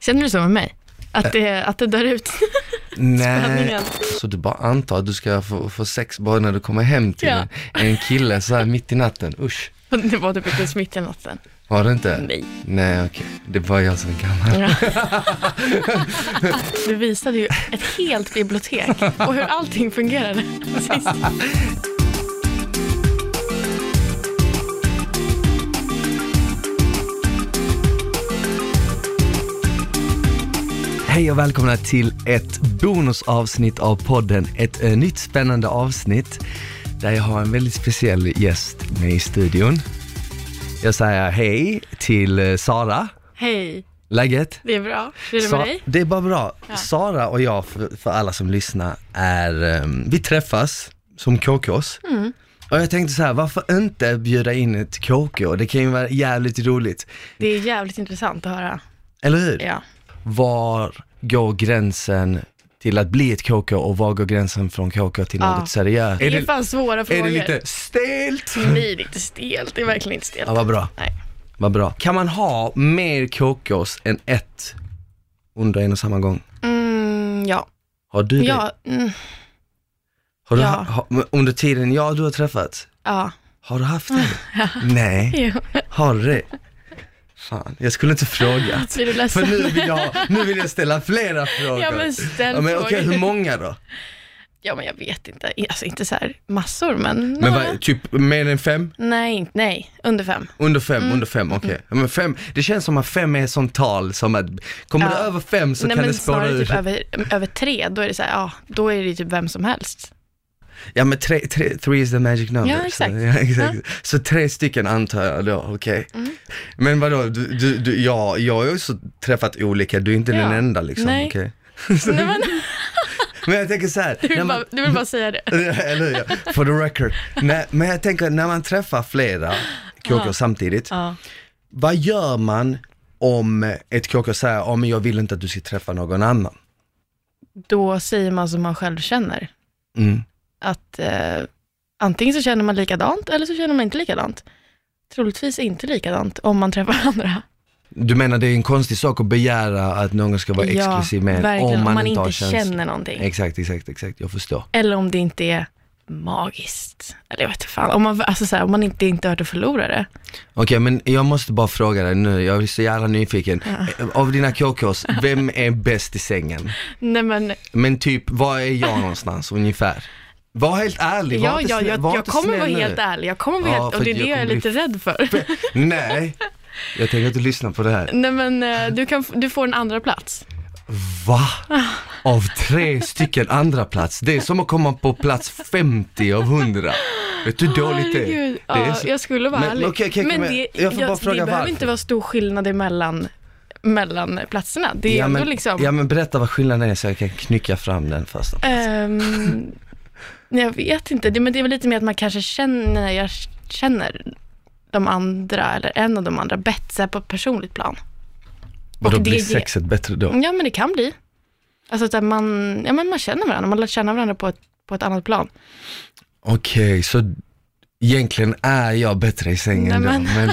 Känner du så med mig? Eh. Att det, att det dör ut? Nej, Spänningen. så du bara antar att du ska få, få sex bara när du kommer hem till Ja. en, en kille så här mitt i natten. Usch, det var typ inte smitt eller något sen. var det inte? Nej. Nej, okej. Det är bara jag som är gammal. Du visade ju ett helt bibliotek och hur allting fungerade sist. Hej och välkomna till ett bonusavsnitt av podden. Ett eh, nytt spännande avsnitt där jag har en väldigt speciell gäst med i studion. Jag säger hej till eh, Sara. Hej, Läget? det är bra. Hur är det Sa- med dig? det är bara bra. Ja. Sara och jag, för, för alla som lyssnar, är, ehm, vi träffas som KKs. Mm. Och jag tänkte så här, varför inte bjuda in ett KK? Det kan ju vara jävligt roligt. Det är jävligt intressant att höra. Eller hur? Ja. Var går gränsen till att bli ett KK och var går gränsen från KK till Ja. något seriöst? Det Är är det, fan svåra frågor. är det lite stelt? Nej, det är inte stelt. Det är verkligen inte stelt. Ja, vad bra. Nej. Vad bra. Kan man ha mer KKs än ett under en och samma gång? Mm, ja. Har du det? Ja, mm, Har du, Ja. ha- ha, men under tiden jag du har träffats, ja. har du haft det? Nej, Jo. har du det? Fan, jag skulle inte fråga. Blir du För ledsen? nu vill jag, nu vill jag ställa flera frågor. Ja, men ställ Ja, men frågor. okej, hur många då? Ja, men jag vet inte. Alltså inte så här massor, men... Men några. vad, typ mer än fem? Nej, inte- nej, under fem. Under fem, Mm. under fem, okej. Ja, Men fem, det känns som att fem är som tal, som att kommer det Ja. över fem så nej, kan men det spåra snarare ur. typ över, över tre, då är det så här, ja, då är det ju typ vem som helst. Ja men tre, tre, three is the magic number. Ja, Mm. exakt. Så, ja, exakt. så tre stycken antar jag då, okej. Men vadå, du, du, du, ja, jag har ju också träffat olika, du är inte Ja. den enda liksom. Nej. okej. Nej, men, Men jag tänker så här, du, när vill man, bara, du vill bara säga det. eller hur, ja, for the record. Nej, men jag tänker när man träffar flera KK Ja. samtidigt, Ja. vad gör man om ett KK säger, ja men jag vill inte att du ska träffa någon annan? Då säger man som man själv känner. Mm. Att eh, antingen så känner man likadant eller så känner man inte likadant. Troligtvis inte likadant om man träffar andra. Du menar det är en konstig sak att begära att någon ska vara exklusiv med en, verkligen, om man, inte, inte har känslor. känner någonting. Exakt, exakt, exakt. Jag förstår. Eller om det inte är magiskt. Eller jag vet inte fan. Om man, alltså så här, om man inte, inte hört att förlora det. Okej, men jag måste bara fråga dig nu. Jag är så jävla nyfiken. Eh, Av dina KKs, vem är bäst i sängen? Nej men, Men typ, var är jag någonstans ungefär? Var helt ärlig, var ja, inte ja, snäll, jag, var jag inte kommer snäll vara nu. helt ärlig. Jag kommer vara Ja, helt, för och det är jag det jag är kommer lite bli- rädd för. Nej, jag tänker inte lyssna på det här. Nej men, eh, du, kan, f- du får en andra plats. Va? Av tre stycken andra plats. Det är som att komma på plats 50 av 100. Vet du hur dåligt det är? Herregud. Det är ja, så- jag skulle vara Men- ärlig. men okej, okej, men men det, jag får bara fråga det behöver varför. inte vara stor skillnad emellan, mellan platserna. Det är ja, ändå men, liksom... ja men berätta vad skillnaden är så jag kan knycka fram den först. Ehm, nej, jag vet inte. Det, men det är väl lite mer att man kanske känner, jag känner de andra, eller en av de andra, bättre på ett personligt plan. Och då det blir är- sexet bättre då? Ja, men det kan bli. Alltså att man, ja, men man känner varandra, man lär känna varandra på ett, på ett annat plan. Okej, så egentligen är jag bättre i sängen Nej, då, men,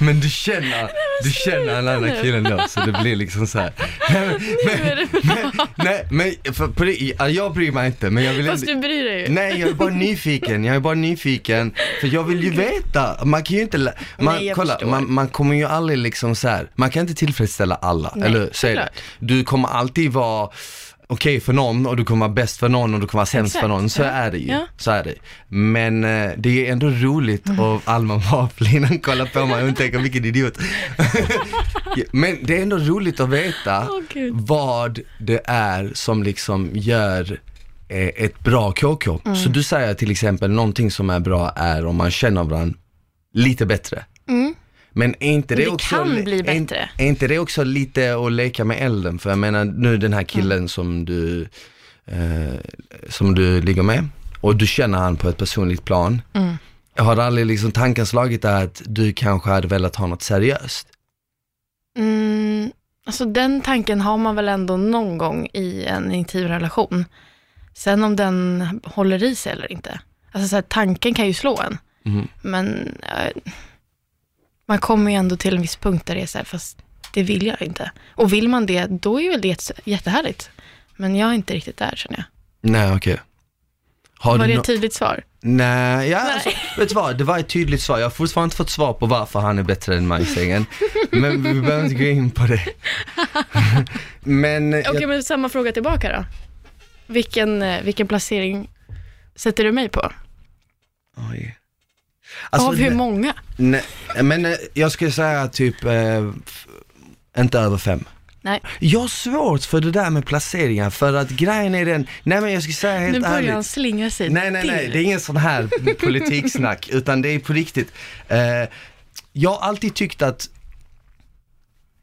men du känner, du känner en annan nu. kille då, så det blir liksom så här. Nej, är men, det men, nej, men för, på det, ja, jag bryr mig inte, men jag vill Fast ändå, du bryr dig ju. Nej, jag är bara nyfiken, jag är bara nyfiken, för jag vill ju veta, man kan ju inte, lä- man, Nej, jag kolla, förstår. man, man kommer ju aldrig liksom så här. man kan inte tillfredsställa alla, Nej, eller hur? Så är det. såklart. Du kommer alltid vara okej för någon och du kommer vara bäst för någon och du kommer vara sämst Exakt, för någon, så ja. är det ju. Ja. Så är det. Men eh, det är ändå roligt och Alma Maplinen kollar på mig och tänker vilken idiot. Men det är ändå roligt att veta Åh, Gud. vad det är som liksom gör eh, ett bra KK. Mm. Så du säger till exempel någonting som är bra är om man känner varandra lite bättre. Mm. Men är inte det, Det också, kan li- bli är in- bättre. Är inte det också lite att leka med elden? För jag menar nu den här killen Mm. som du eh, som du ligger med och du känner han på ett personligt plan. Mm. Har aldrig liksom tanken slagit dig att du kanske hade velat ha något seriöst? Mm, alltså den tanken har man väl ändå någon gång i en intim relation. Sen om den håller i sig eller inte. Alltså så här, tanken kan ju slå en. Mm. Men eh, man kommer ju ändå till en viss punkt där det är så här, fast det vill jag inte. Och vill man det, då är väl det jätte- jättehärligt. Men jag är inte riktigt där känner jag. Nej, okej. Har Var du det nå- ett tydligt svar? Nej, ja, Nej. Alltså, vet du vad? Det var ett tydligt svar. Jag har fortfarande inte fått svar på varför han är bättre än Majsängen. Men vi behöver inte gå in på det. Men eh, Okej, jag, men samma fråga tillbaka då. Vilken, eh, vilken placering sätter du mig på? oj. Alltså, Av hur ne- många? nej, men eh, jag skulle säga typ, eh, f- inte över fem. Nej, Jag har svårt för det där med placeringar, för att grejen är den, nej men jag ska säga helt nu börjar ärligt. han slingra sig Nej, nej, nej, till. det är ingen sån här politiksnack, utan det är på riktigt. Eh, jag har alltid tyckt att,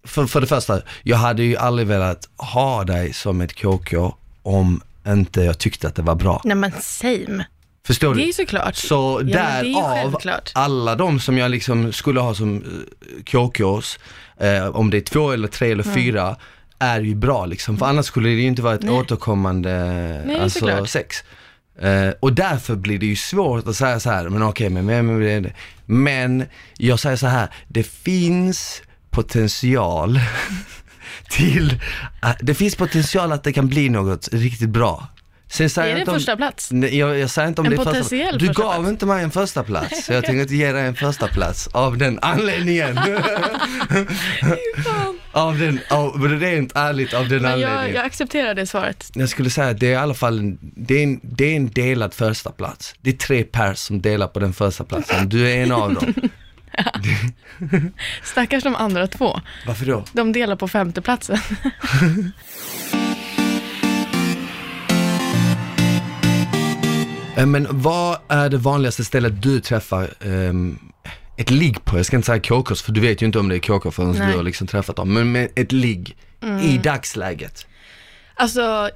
för, för det första, jag hade ju aldrig velat ha dig som ett KK om inte jag tyckte att det var bra. Nej, men same. Förstår Det är du? ju såklart. Så men det är ju därav, självklart. alla de som jag liksom skulle ha som eh, KKs, eh, om det är två eller tre eller fyra, är ju bra liksom. För annars skulle det ju inte vara ett Nej. återkommande Nej, alltså, såklart. sex. Eh, och därför blir det ju svårt att säga så här, men okej, men vem är det? Men jag säger så här, det finns potential till, att- det finns potential att det kan bli något riktigt bra. Sen säger Är jag det inte om- första plats? Nej, jag, jag säger inte om En det är första potentiell Du första gav plats. inte mig en första plats så jag tänker inte ge dig en första plats av den anledningen. av den, av, rent ärligt av den Men jag, anledningen. jag Jag, accepterar det svaret. skulle säga att det är i alla fall, en- det är, en, det är en delad första plats. Det är tre pers som delar på den första platsen. Du är en av dem. Stackars de andra två. Varför då? De delar på femteplatsen. Eh, Men vad är det vanligaste stället du träffar ehm, ett ligg på? Jag ska inte säga KKs för du vet ju inte om det är KK förrän Nej. Mm. du har liksom träffat dem. Men, men ett ligg i dagsläget. Alltså,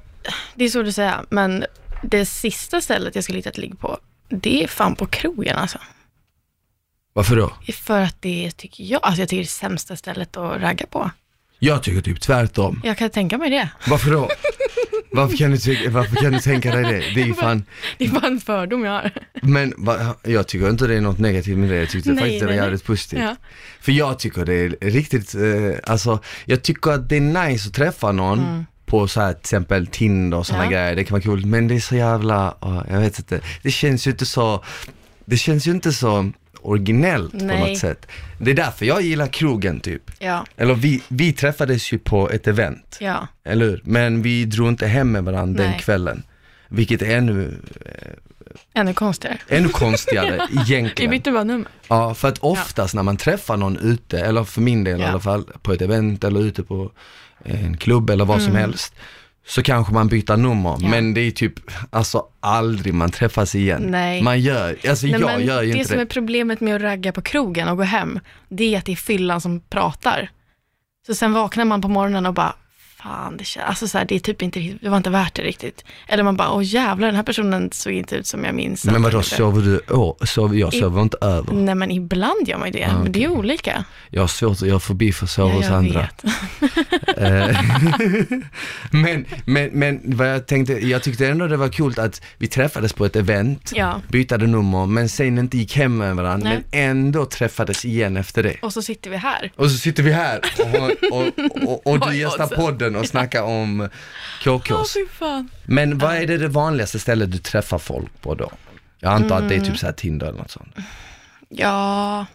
det är svårt att säga, men det sista stället jag skulle hitta ett ligg på, det är fan på krogen alltså. Varför då? För att det tycker jag, alltså jag tycker det är det sämsta stället att ragga på. Jag tycker typ tvärtom. Jag kan tänka mig det. Varför då? varför, kan du tycka, varför kan du tänka dig det? Det är ju fan, Det är bara en fördom jag har. men va, jag tycker inte det är något negativt med det, jag tyckte Nej, faktiskt det var nej, nej. jävligt positivt. Ja. För jag tycker det är riktigt, eh, alltså jag tycker att det är nice att träffa någon på så här till exempel Tinder och sådana Mm. Ja. grejer, det kan vara kul, men det är så jävla, ja, jag vet inte, det känns ju inte så, det känns ju inte så originellt på Nej. något sätt. Det är därför jag gillar krogen typ. Ja, Eller vi, vi träffades ju på ett event, ja. eller hur? Men vi drog inte hem med varandra den Nej. kvällen. Vilket är ännu, Ännu konstigare. ännu konstigare Vi egentligen. bytte bara nummer. Ja, för att oftast när man träffar någon ute, eller för min del i Ja. alla fall, på ett event eller ute på en klubb eller vad som helst, så kanske man byter nummer, Mm. Ja. men det är typ, alltså aldrig man träffas igen. Nej. Man gör, alltså Nej, jag men gör ju det inte som det. är problemet med att ragga på krogen och gå hem, det är att det är fyllan som pratar. Så sen vaknar man på morgonen och bara, fan det känns, alltså så här, det är typ inte, riktigt- det var inte värt det riktigt. Eller man bara, åh jävlar den här personen såg inte ut som jag minns. att Men vadå, den gjorde." sover du, oh, sover, jag I- sover inte över. Nej men ibland gör man ju det, men det är olika. Jag har svårt, Ah, jag har förbi för att sova hos andra. vet. Eh, men, men, men vad jag tänkte, jag tyckte ändå det var kul att vi träffades på ett event, Ja. bytade nummer, men sen inte gick hem med varandra, Nej. men ändå träffades igen efter det. Och så sitter vi här. Och så sitter vi här och, har- och, och, och, Oj, du gästar oddsen. podden och snackar om Åh KKs. fy fan. Men vad är det, det vanligaste stället du träffar folk på då? Jag antar att det är typ så här Tinder eller något sånt. Ja,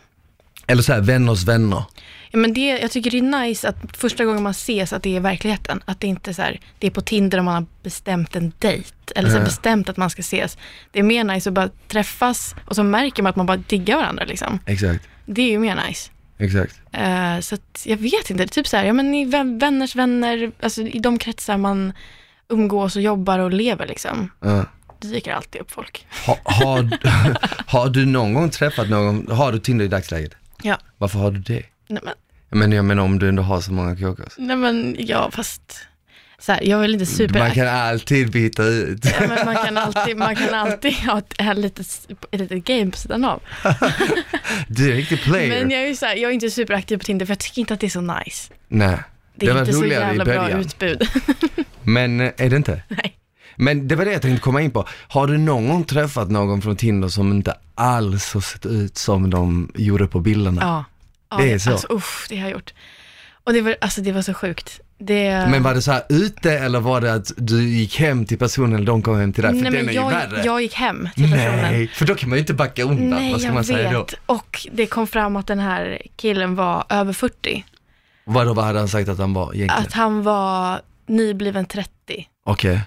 Eller så här vänners vänner. Ja, men det, jag tycker det är nice att första gången man ses att det är verkligheten. Att det inte är så här, det är på Tinder och man har bestämt en dejt. Eller så här, Ja. bestämt att man ska ses. Det är mer nice att bara träffas och så märker man att man bara diggar varandra. Liksom. Exakt, Det är ju mer nice. exakt. Eh, så att, jag vet inte, det är typ så här, ja men i vän- vänners vänner, alltså i de kretsar man umgås och jobbar och lever liksom. Ja. Det dyker alltid upp folk. Ha, har, har du någon gång träffat någon, har du Tinder i dagsläget? Ja, Varför har du det? nej men, Men jag menar om du ändå har så många KKs. nej, men ja fast, så här, jag Typ är väl inte super... Man kan alltid byta ut. Ja, men man, kan alltid, man kan alltid ha ett, ett, litet, ett litet game på sidan av. Du är en riktig player. Men jag är, ju så här, jag är inte superaktiv på Tinder för jag tycker inte att det är så nice. Nej, Det Det är var inte så roligare i jävla bra början. utbud. men eh, är det inte? Nej. Men det var det jag tänkte komma in på. Har du någon gång träffat någon från Tinder som inte alls har sett ut som de gjorde på bilderna? Ja. ja Det är så. Alltså, uff, det har jag gjort. Och det var, alltså, det var så sjukt. Det... Men var det så här ute eller var det att du gick hem till personen eller de kom hem till dig? För Nej, den men är jag, ju värre. jag gick hem till personen. Nej, för då kan man ju inte backa undan. Nej, Vad ska jag man vet. säga då? Och det kom fram att den här killen var över 40. Vadå, vad hade han sagt att han var egentligen? Att han var nybliven 30. Okej.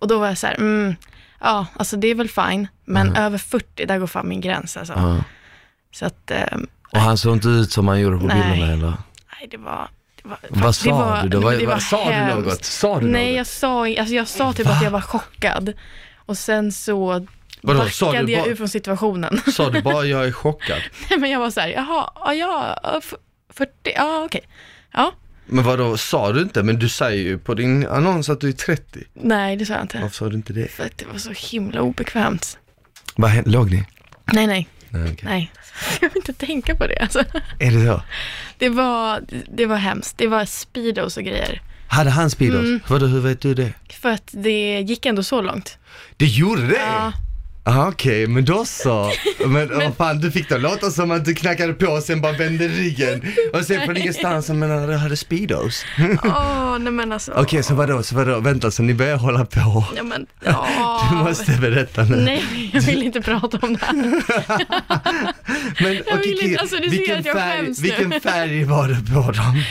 Och då var jag så här, mm, ja, alltså det är väl fine, men över 40, där går fan min gräns alltså. Ja. Så att, eh, Och han såg inte ut som han gjorde på Nej. bilderna eller? nej det var... Det var Vad det sa var, du då? Vad, det var vad, sa hemskt. du något? Sa du Nej, något? jag sa, ing- alltså jag sa typ att jag var chockad. Och sen så Vadå, sa du backade jag bara- ur från situationen. Sa du bara jag är chockad? Nej, men jag var så här, jaha, ja, ja, ja, f- 40, ja okej. Ja, Men vadå, sa du inte? Men du säger ju på din annons att du är 30. nej det sa jag inte. Varför sa du inte det? För att det var så himla obekvämt. Vad hände, låg ni? Nej, nej, Nej, okej. nej. Jag vill inte tänka på det alltså. Är det så? Det var, det var hemskt. Det var speedos och grejer. Hade han speedos? Mm. Vadå, hur vet du det? För att det gick ändå så långt. Det gjorde det? Ja. Aha, Okej, men då så. Men, åh, fan, du fick det att låta som att du knackade på och sen bara vände ryggen. Och sen från ingenstans, men han hade speedos. Åh, nej men alltså. Mm. Okej, så vadå, så vadå, vänta, så ni börjar hålla på. Ja, men, Du ja. måste berätta nu. Nej, jag vill inte prata om det här. Men, Jag okej, vill inte- alltså, du ser vilken, att jag färg, skäms nu. vilken färg var det på dem?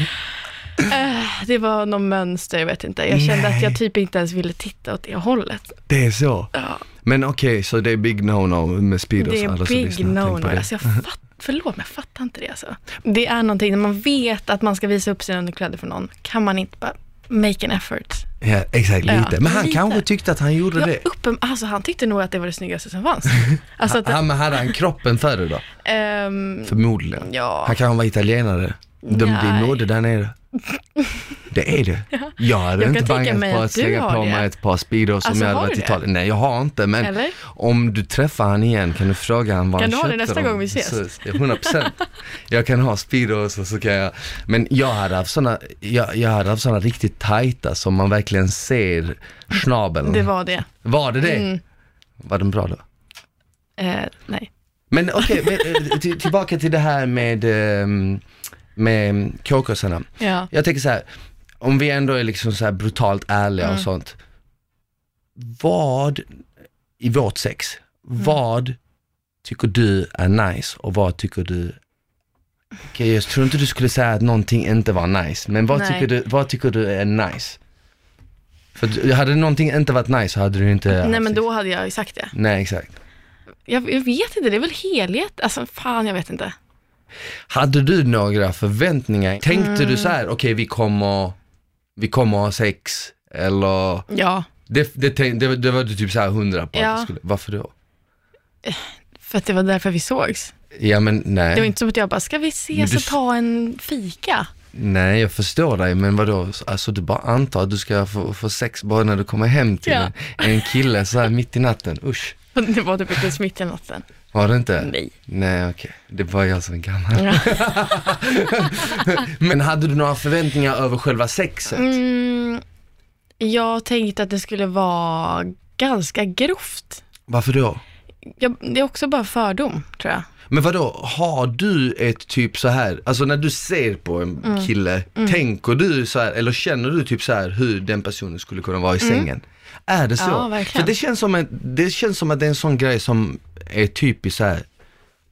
Eh, Det var någon mönster, jag vet inte. Jag kände att jag typ inte ens ville titta åt det hållet. Det är så. Ja, Men okej, så det är big no-no med speedos, det är alla som big lyssnar, tänk på no-no. det. Alltså jag fatt, förlåt, men jag fattar inte det alltså. Det är någonting, när man vet att man ska visa upp sina underkläder för någon, kan man inte bara make an effort. Ja, exakt, Ja, lite. Men han lite. kanske tyckte att han gjorde Ja, det. uppen, alltså han tyckte nog att det var det snyggaste som fanns. Alltså att, Han, men hade han kroppen för det då? ehm, Förmodligen. ja. Han kanske var italienare. De, det är Nej. mode där nere. Det är det. Jag hade Jag kan inte tänka bangat mig på att att du slänga har på det. mig ett par speedos om Alltså, jag hade har varit du i det? Italien. Nej, jag har inte, men Eller? om du träffar han igen kan du fråga han vad Kan han du ha det köpte nästa dem. gång vi ses? Precis, ja, 100%. jag kan ha speedos och så kan jag, men jag hade haft sådana, jag, jag hade haft sådana riktigt tajta som man verkligen ser snabeln. Det var det. Var det det? Mm. Var den bra då? Eh, nej. Men okej, men, eh, till- tillbaka till det här med, ehm, med kokosarna. Ja. Jag tänker så här, om vi ändå är liksom så här brutalt ärliga Mm. och sånt. Vad, i vårt sex, Mm. vad tycker du är nice och vad tycker du Okej, jag tror inte du skulle säga att någonting inte var nice, men vad Nej. tycker, du, vad tycker du är nice? För du- hade någonting inte varit nice så hade du inte haft Nej men sex. då hade jag ju sagt det. Nej exakt. Jag, jag vet inte, det är väl helhet? Alltså fan, jag vet inte. Hade du några förväntningar? Tänkte Mm. du så här, okej vi kommer, vi kommer ha sex eller Ja, Det, det, tänk, det, var- det var du typ såhär hundra på att Ja. du skulle, varför då? för att det var därför vi sågs. Ja men nej, Det var inte som att jag bara, ska vi Men ses du och ta en fika? nej jag förstår dig men vadå, alltså du bara antar att du ska få, få sex bara när du kommer hem till Ja. en, en kille så här mitt i natten, usch. Det var typ inte ens mitt i natten. Var det inte? Nej. Nej okej, det var jag som är gammal. Ja. Men hade du några förväntningar över själva sexet? Mm, jag tänkte att det skulle vara ganska grovt. Varför då? Jag, det är också bara fördom, tror jag. Men vadå, har du ett typ så här, alltså när du ser på en Mm. kille, tänker du så här, eller känner du typ så här hur den personen skulle kunna vara i sängen? Är det så? Mm. Ja, verkligen. För det känns, som en, det känns som att det är en sån grej som är typiskt så här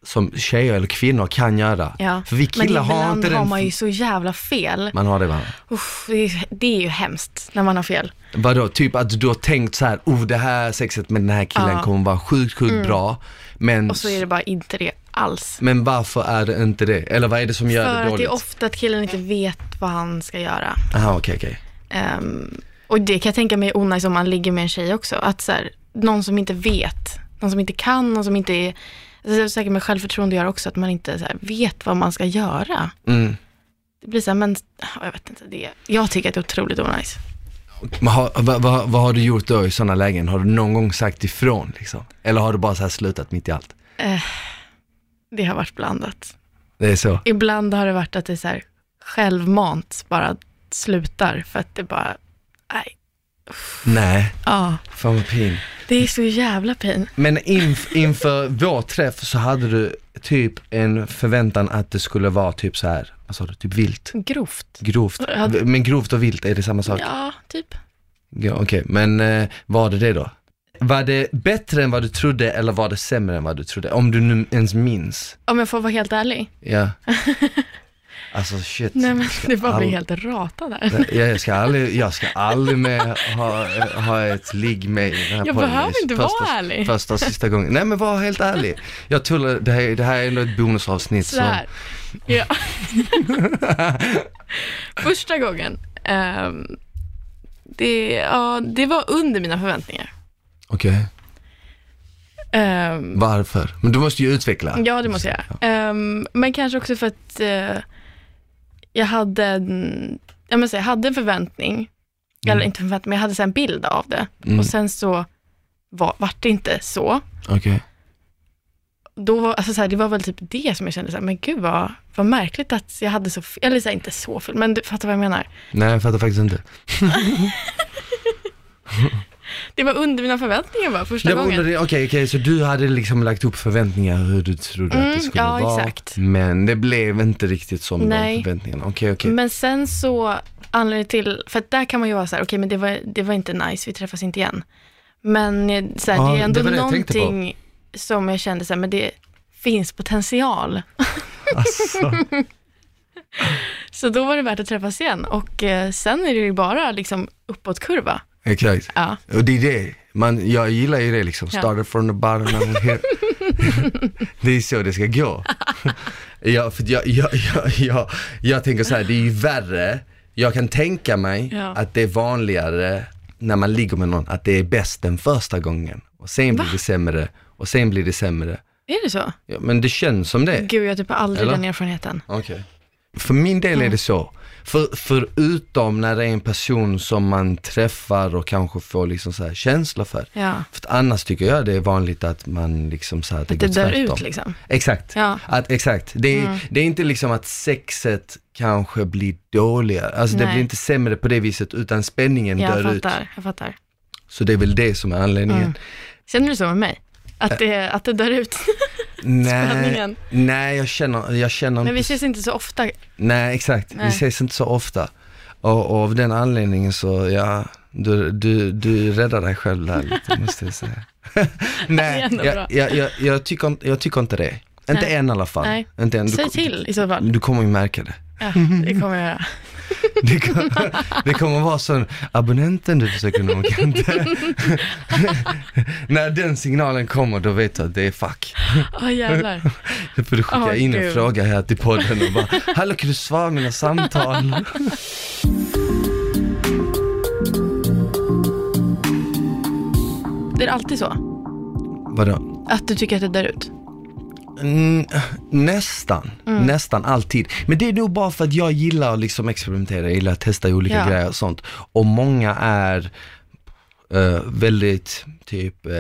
som tjejer eller kvinnor kan göra. Ja. För vi Men killar har inte har den... man ju så jävla fel. man har det va? Uff, det, är, det är ju hemskt när man har fel. Vadå, typ att du har tänkt så här, oh det här sexet med den här killen Ja. Mm. kommer vara sjukt, sjukt bra. Men, Och så är det bara inte det alls. men varför är det inte det? Eller vad är det som gör För det att det dåligt? är ofta att killen inte vet vad han ska göra. Aha, okej, okej. Ehm, och det kan jag tänka mig är onajs om man ligger med en tjej också. Att så här, någon som inte vet, någon som inte kan, någon som inte är... Alltså, det är säkert med självförtroende gör också att man inte så här, vet vad man ska göra. Mm. Det blir så här, men ja, jag vet inte. Det, jag tycker att det är otroligt onajs. Men har, vad, vad, vad har du gjort då i sådana lägen? Har du någon gång sagt ifrån liksom? Eller har du bara så här slutat mitt i allt? Det har varit blandat. Det är så? Ibland har det varit att det är så här, självmant bara slutar för att det bara, nej, Nej, ja. fan vad pin. Det är så jävla pin. Men inf, inför vår träff så hade du typ en förväntan att det skulle vara typ så här vad sa du, typ vilt? Grovt. Grovt? Ja. V- Men grovt och vilt, är det samma sak? Ja. Ja, typ. Okej, men eh, var det det då? Var det bättre än vad du trodde eller var det sämre än vad du trodde? Om du nu ens minns? Om jag får vara helt ärlig. Ja. Alltså shit. Nej men det bara blir all- helt ratad här. Nej, Jag ska aldrig, jag ska aldrig mer ha, ha ett ligg med i den här Jag podden. behöver inte första, vara ärlig. Första och sista gången. Nej men var helt ärlig. Jag tror det här, det här är ändå ett bonusavsnitt. Så här. Ja. Första gången. ehm, det, ja, det var under mina förväntningar. Okej, Ehm, varför? Men du måste ju utveckla. Ja, det måste jag göra. Ehm, men kanske också för att eh, jag hade en, jag, måste säga, jag hade en förväntning, eller inte förväntning, men jag hade så här en bild av det. Mm. Och sen så var, vart det inte så. Okej. Då var, alltså så här, det var väl typ det som jag kände, så här, men gud vad, vad märkligt att jag hade så fel, eller så här, inte så fel, men du fattar vad jag menar. Nej jag fattar faktiskt inte. Det var under mina förväntningar bara, första Jag bara gången. undrade, okej okej, så du hade liksom lagt upp förväntningar hur du trodde att Mm, det skulle ja, vara. exakt. Men det blev inte riktigt som de Nej. Mm. förväntningarna. Okej okej. Men sen så, anledningen till, för att där kan man ju vara så här, okej men det var, det var inte nice, vi träffas inte igen. Men eh, så här, Ja, det är ändå det var det jag tänkte på. någonting som jag kände så här, men det finns potential. Alltså. Så då var det värt att träffas igen och eh, sen är det ju bara liksom uppåtkurva. Exakt. Ja. Och det är det, man, jag gillar ju det liksom, Ja. started from the bottom and here. det är så det ska gå. ja, för jag, jag, jag, jag, jag tänker så här, det är ju värre, jag kan tänka mig Ja. att det är vanligare när man ligger med någon, att det är bäst den första gången. Och sen blir det sämre, och sen blir det sämre. Är det så? Ja, men det känns som det. Gud, jag har typ aldrig Eh, Eller? den erfarenheten. Okej. För min del är det så. För, förutom när det är en person som man träffar och kanske får liksom så här känsla för. Ja. För att annars tycker jag det är vanligt att man liksom så här, Det går dör tvärtom. ut liksom. Exakt. Ja. Mm. Att, exakt. Det är, det är inte liksom att sexet kanske blir dåligare, alltså det Nej. blir inte sämre på det viset utan spänningen Jag dör ut. fattar, jag fattar. Så det är väl det som är anledningen. Känner du så med mig? Eh. Att det, att det dör ut? Nej, Mm. Spänningen. nej jag känner, jag känner Men vi inte ses inte så ofta. Nej, exakt. Vi Nej. ses inte så ofta. Och, och av den anledningen så, ja, du, du, du räddar dig själv där lite, måste jag säga. Det är Nej, ändå bra. jag, jag, jag, jag, tycker, inte- jag tycker inte det. Inte Nej. än i alla fall. Nej. Inte än. Du, Säg till i så fall. du kommer ju märka det. Ja, det kommer jag göra. Det kommer, det kommer vara sån, abonnenten du försöker nå kan inte. När den signalen kommer då vet du att det är fuck. Åh jävlar. Då får du skicka Åh, in en Gud. fråga här till podden och bara, hallå kan du svara mina samtal? Det är alltid så? Vadå? Att du tycker att det dör ut? Mm, nästan, Mm. nästan alltid. Men det är nog bara för att jag gillar att liksom experimentera, jag gillar att testa olika Ja. grejer och sånt. Och många är eh, väldigt typ uh,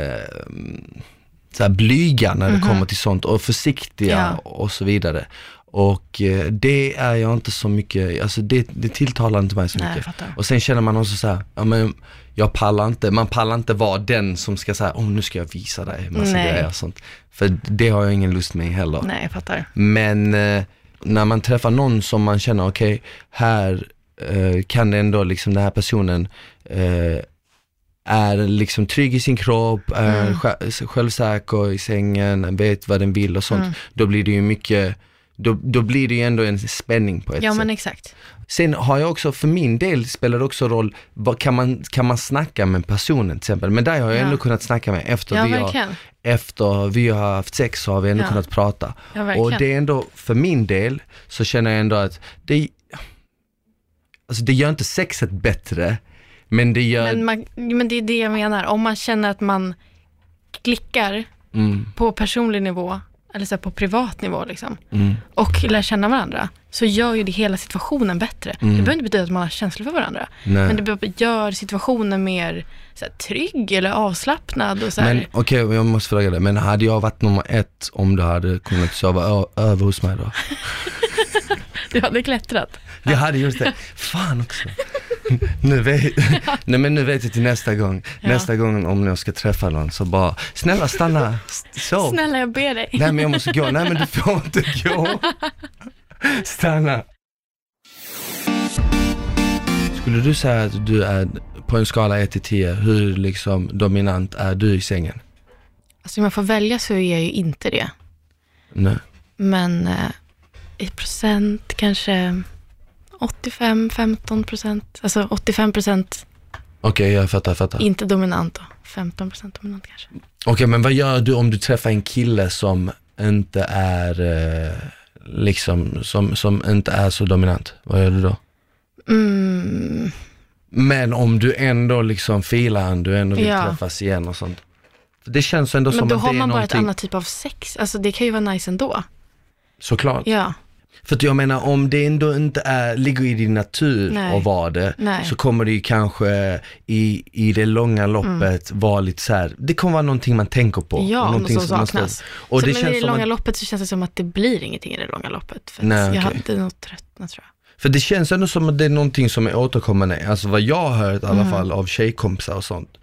så här blyga när Mhm. det kommer till sånt och försiktiga och så vidare. Och eh, det är jag inte så mycket, alltså det, det tilltalar inte mig så Nej, jag mycket. fattar. Och sen känner man också så här, ja men jag pallar inte, man pallar inte vara den som ska säga, åh nu ska jag visa dig massa Nej. grejer och sånt. För det har jag ingen lust med heller. Nej, jag fattar. Men eh, när man träffar någon som man känner, okej, här eh, kan ändå liksom den här personen eh, är liksom trygg i sin kropp, är Mm. sj- självsäker i sängen, vet vad den vill och sånt. Mm. Då blir det ju mycket, då, då blir det ju ändå en spänning på ett Ja, sätt. men exakt. Sen har jag också, för min del spelar det också roll, vad, kan, man, kan man snacka med personen till exempel? Men där har jag Ja. ändå kunnat snacka med efter Ja, vi har verkligen. efter vi har haft sex så har vi ändå Ja. kunnat prata. Ja, och verkligen. det är ändå, för min del, så känner jag ändå att det, alltså det gör inte sexet bättre, men det gör, Men, man, men det är det jag menar, om man känner att man klickar mm, på personlig nivå, eller så här på privat nivå liksom, mm, och lär känna varandra, så gör ju det hela situationen bättre. Det behöver inte betyda att man har känslor för varandra, Mm. nej. men det be- gör situationen mer så här, trygg eller avslappnad och så här. Men okej, jag måste fråga dig, men hade jag varit nummer ett om du hade kunnat sova ö- över hos mig då? Du hade klättrat. Jag hade gjort det. Fan också. Nu vet, nej men nu vet jag till nästa gång, Ja. nästa gång om jag ska träffa någon så bara, snälla stanna, s- sov. Snälla jag ber dig. Nej men jag måste gå, nej men du får inte gå. Stanna. skulle du säga att du är, på en skala 1 till 10, hur liksom dominant är du i sängen? Alltså om jag får välja så är jag ju inte det. Nej. Men eh, i procent kanske 85-15 procent. Alltså 85 procent Okej, jag fattar, fattar. Okej, inte dominant då. 15 procent dominant kanske. men vad gör du om du träffar en kille som inte är, eh, liksom, som, som inte är så dominant? Vad gör du då? Mm, Men om du ändå liksom filar han, du ändå vill Ja. träffas igen och sånt. För Det känns ändå men som då att det har är man bara ett någonting, annat typ av sex. Alltså det kan ju vara nice ändå. såklart. Ja, För att jag menar om det ändå inte är, ligger i din natur Nej. att vara det, Nej. så kommer det ju kanske i, i det långa loppet vara lite så här. det kommer vara någonting man tänker på. Mm. ja om någonting något som man ska- saknas. Och så, det men känns i det som långa att, loppet så känns det som att det blir ingenting i det långa loppet. För att Nej, jag okej. hade nog tröttnat tror jag. för det känns ändå som att det är någonting som är återkommande, alltså vad jag har hört i alla Mm. fall av tjejkompisar och sånt.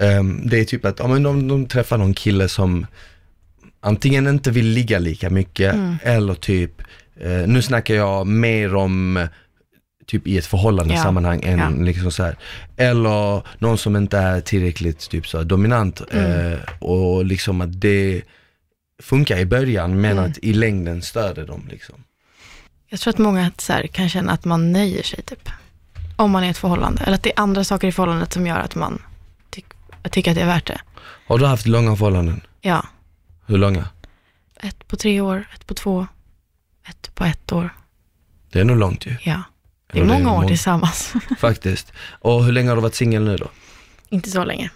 Ehm, det är typ att, ja men de, de träffar någon kille som antingen inte vill ligga lika mycket Mm. eller typ, eh, nu snackar jag mer om eh, typ i ett förhållande Ja. sammanhang än Ja. liksom så här. Eller någon som inte är tillräckligt typ så här, dominant Mm. eh, och liksom att det funkar i början men Mm. att i längden stör det dem liksom. Jag tror att många så här, kan känna att man nöjer sig typ. Om man är i ett förhållande. Eller att det är andra saker i förhållandet som gör att man tyck, tycker att det är värt det. Har du haft långa förhållanden? Ja, Hur långa? ett på tre år, ett på två, ett på ett år. Det är nog långt ju, Ja, det är Ja, det är många år många. tillsammans. faktiskt. Och hur länge har du varit singel nu då? Inte så länge.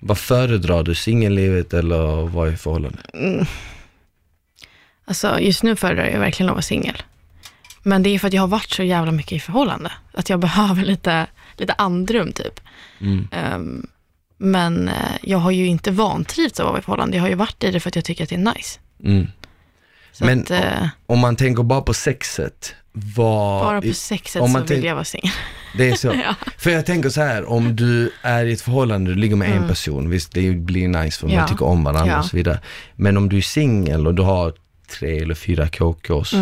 Vad föredrar du, singellivet eller vad är förhållande? Alltså just nu föredrar jag verkligen att vara singel. Men det är för att jag har varit så jävla mycket i förhållande. Att jag behöver lite, lite andrum typ. Mm. Ehm, men eh, jag har ju inte vantrivts av att vara i förhållande. Jag har ju varit i det för att jag tycker att det är nice. Mm. Så Men- att, eh, Om man tänker bara på sexet, vad... bara i- på sexet om så man vill tänk- jag vara singel. Det är så. Ja. För jag tänker så här, om du är i ett förhållande, du ligger med en person, visst det blir nice för man Mm. Ja. tycker om varandra Ja. och så vidare. Men om du är singel och du har tre eller fyra Mm. KKs,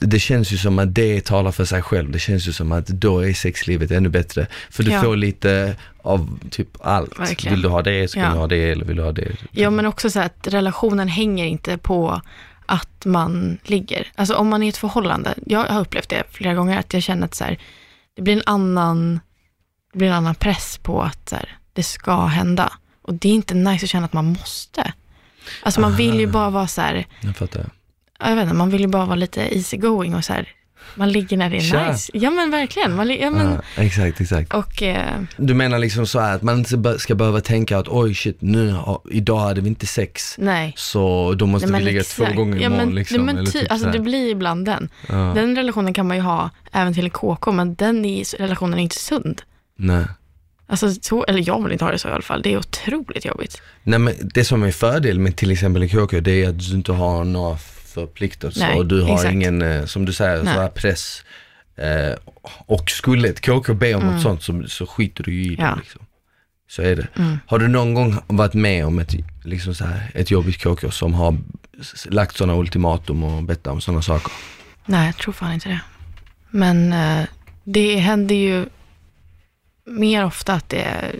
det känns ju som att det talar för sig själv. Det känns ju som att då är sexlivet ännu bättre. För du Ja. får lite av typ allt. Verkligen. Vill du ha det så kan Ja. du ha det, eller vill du ha det. Ja men också så här att relationen hänger inte på att man ligger. Alltså om man är i ett förhållande, jag har upplevt det flera gånger, att jag känner att så här, det blir en annan, det blir en annan press på att så här, det ska hända. Och det är inte nice att känna att man måste. Alltså man vill ju Ah. bara vara så här, Jag fattar. ja, jag vet inte, man vill ju bara vara lite easy going och så här, man ligger när det är Tja. nice. Ja men verkligen, man, li- ja, men, Ja, Ah, exakt, exakt. och eh, Du menar liksom så här att man inte be- ska behöva tänka att oj shit, nu, har- idag hade vi inte sex. nej. Så då måste Nej, vi men ligga exakt. två gånger ja, imorgon men, liksom. nej, men eller ty, typ alltså så här. det blir ibland den. Ja. Den relationen kan man ju ha även till en KK, men den i, relationen är inte sund. Nej. Alltså, så, eller jag vill inte ha det så i alla fall. Det är otroligt jobbigt. Nej men det som är fördel med till exempel en KK det är att du inte har några förpliktelser Nej, och du har exakt. ingen, eh, som du säger, så Nej. här press. Eh, och skulle ett KK be om något sånt så, så skiter du ju i det Mm. Ja. Mm. liksom. Så är det. Har du någon gång varit med om ett, liksom så här, ett jobbigt KK som har s- lagt sådana ultimatum och bett om sådana saker? Nej, jag tror fan inte det. Men eh, det händer ju mer ofta att det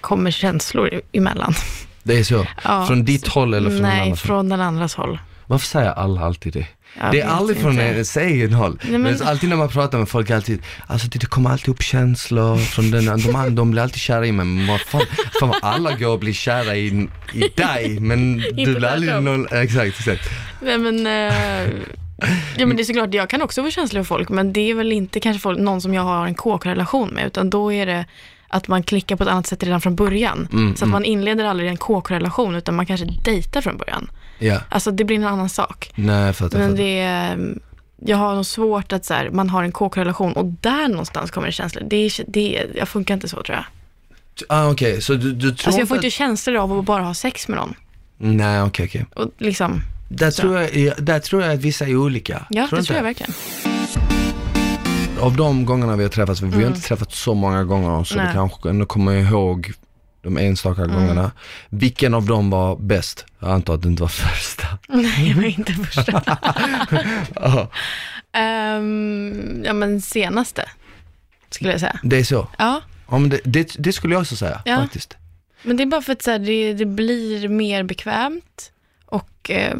kommer känslor e- emellan. Det är så? Ja. från ditt håll eller från någon Nej, annans? håll? från den andras håll. Varför säger alla alltid det? Jag det är vet aldrig från inte. ens egen håll. men... men- alltid när man pratar med folk, alltid, alltså det det kommer alltid upp känslor från den, de, andra, de blir alltid kära i mig, men vad fan, fan vad alla går och blir kära i, i dig, men du blir aldrig tvärtom. någon, exakt, exakt. Nej men, eh, ja, men det är såklart, jag kan också vara känslig för folk, men det är väl inte kanske folk, någon som jag har en KK-relation med, utan då är det att man klickar på ett annat sätt redan från början. så att man inleder aldrig en KK-relation, utan man kanske dejtar från början. Ja, Alltså det blir en annan sak. nej jag fattar. Men fattar. det är, eh, jag har nog svårt att så här, man har en KK-relation och där någonstans kommer det känslor. Det, är, det jag funkar inte så tror jag. Ah, Okej, så du, du tror Alltså jag får att- inte känslor av att bara ha sex med någon. Nej okej okej. Och liksom, Där, tror jag- ja, där tror jag att vissa är olika. ja det inte? tror jag verkligen. Av de gångerna vi har träffats, för vi har inte träffats så många gånger så du Mm. Nej. Mm. kanske ändå kommer ihåg de enstaka gångerna. Vilken av dem var bäst? Jag antar att det inte var första. Nej, jag var inte första. Ja. Ehm, ja men senaste. skulle jag säga. Det är så. Ja, Om det, det, det skulle jag också säga Ja. faktiskt. men det är bara för att så här, det, det blir mer bekvämt och eh,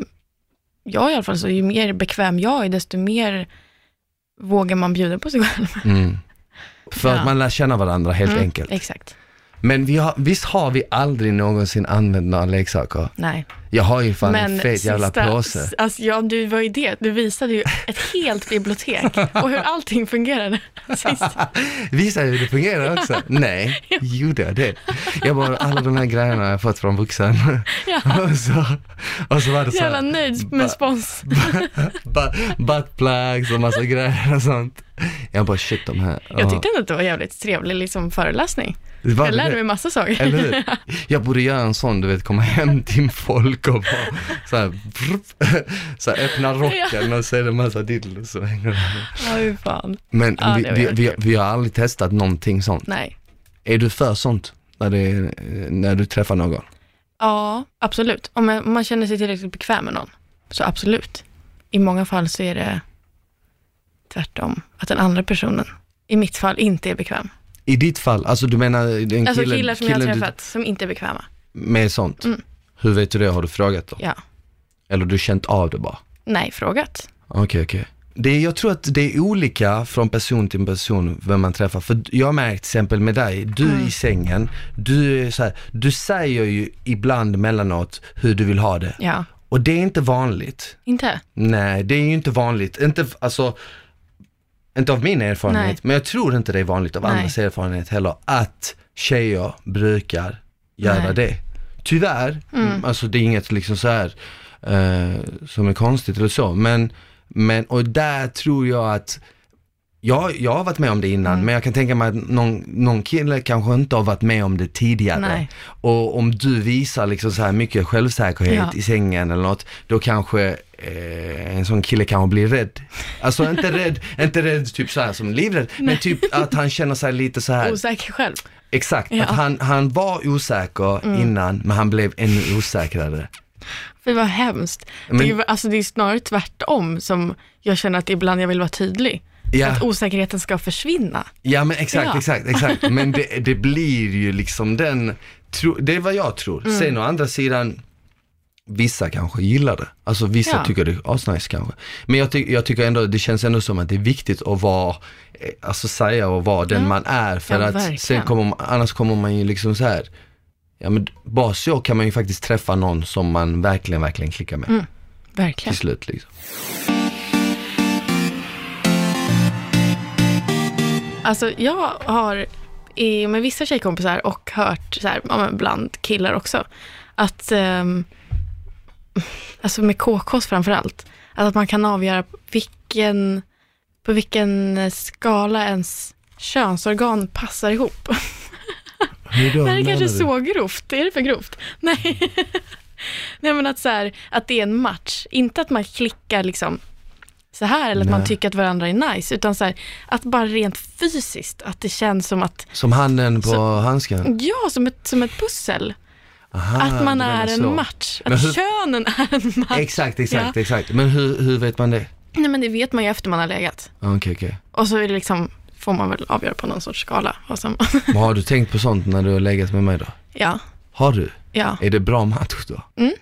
jag i alla fall, så ju mer bekväm jag är, desto mer vågar man bjuda på sig själv. Mm. För Ja. att man lär känna varandra helt Mm, enkelt. Exakt. Men vi har, visst har vi aldrig någonsin använt några leksaker? Nej. Jag har ju fan Men en fet jävla sista- påse. Alltså, ja, du var ju det. Du visade ju ett helt bibliotek och hur allting fungerade. Sist. Visar hur det fungerar också? Nej, gjorde jag det? Jag bara, alla de här grejerna har jag fått från vuxen. Ja. och, så, och så var det så Jävla här, nöjd Bara- med spons. bu- buttplugs och massa grejer och sånt. Jag bara, shit de här. Jag tyckte ändå att det var jävligt trevlig liksom, föreläsning. det var Jag det. lärde mig massa saker. Eller hur? Jag borde göra en sån, du vet, komma hem till folk och bara så här, vrrt, så här öppna rocken och så är det en massa dildos som hänger där. Ja, hur fan. Men Ja, vi, det var vi, vi, jättekul. vi har aldrig testat någonting sånt. Nej. Är du för sånt? När, det, är- när du träffar någon? Ja, absolut. Om man, om man känner sig tillräckligt bekväm med någon, så absolut. I många fall så är det tvärtom. Att den andra personen, i mitt fall, inte är bekväm. I ditt fall, alltså du menar en Alltså kille, killar som jag killen har du- träffat, som inte är bekväma. med sånt? Mm. Hur vet du det? Har du frågat då? Ja. Eller du känt av det bara? Nej, frågat. Okej, okej. Det, jag tror att det är olika från person till person vem man träffar. För jag har märkt till exempel med dig, du Mm. i sängen, du, är så här, du säger ju ibland mellanåt hur du vill ha det. Ja. Och det är inte vanligt. Inte? Nej, det är ju inte vanligt. Inte, alltså, inte av min erfarenhet, Nej. men jag tror inte det är vanligt av Nej. andras erfarenhet heller, att tjejer brukar göra Nej. det. Tyvärr, mm. alltså det är inget liksom så här eh, som är konstigt eller så, men, men och där tror jag att jag, jag har varit med om det innan, Mm. men jag kan tänka mig att någon, någon kille kanske inte har varit med om det tidigare. Nej. Och om du visar liksom så här mycket självsäkerhet Ja. i sängen eller något, då kanske eh, en sån kille kanske blir rädd. Alltså inte rädd, inte rädd typ så här som livrädd, men typ att han känner sig lite så här. Osäker själv. Exakt, Ja. Mm. att han, han var osäker innan, men han blev ännu osäkrare. Fy vad hemskt. Men- det, är, ju- alltså, det är snarare tvärtom som jag känner att ibland jag vill vara tydlig. Ja, Att osäkerheten ska försvinna. ja men exakt, Ja. exakt, exakt. Men det, det blir ju liksom den, tro, det är vad jag tror. Mm. Sen å andra sidan, vissa kanske gillar det. Alltså vissa Ja. tycker det är asnice kanske. Men jag, ty- jag tycker ändå, det känns ändå som att det är viktigt att vara, eh, alltså säga och vara den Ja. man är. För Ja, att sen verkligen. kommer man, annars kommer man ju liksom så här. ja men bara så kan man ju faktiskt träffa någon som man verkligen, verkligen klickar med Mm. till Verkligen. slut liksom. Alltså jag har i, med vissa tjejkompisar och hört så här, ja, men bland killar också, att ehm, alltså med KKs framför allt, att man kan avgöra vilken, på vilken skala ens könsorgan passar ihop. Hur då, Det här är menar kanske du? så grovt. Är det för grovt? Nej. Nej men att, så här, att det är en match. Inte att man klickar liksom så här eller att man Nej. tycker att varandra är nice. Utan så här, att bara rent fysiskt, att det känns som att, Som handen på Så- handsken? ja som ett, som ett pussel. Aha, att man du Ah, menar är en så. match. Men Att hur- könen är en match. Exakt, exakt, exakt. Men hur, hur vet man det? Nej men det vet man ju efter man har legat. Okej, okej. Och så är det liksom, får man väl avgöra på någon sorts skala. vad som- Men Har du tänkt på sånt när du har legat med mig då? ja, Har du? ja. Är det bra match då? Mm.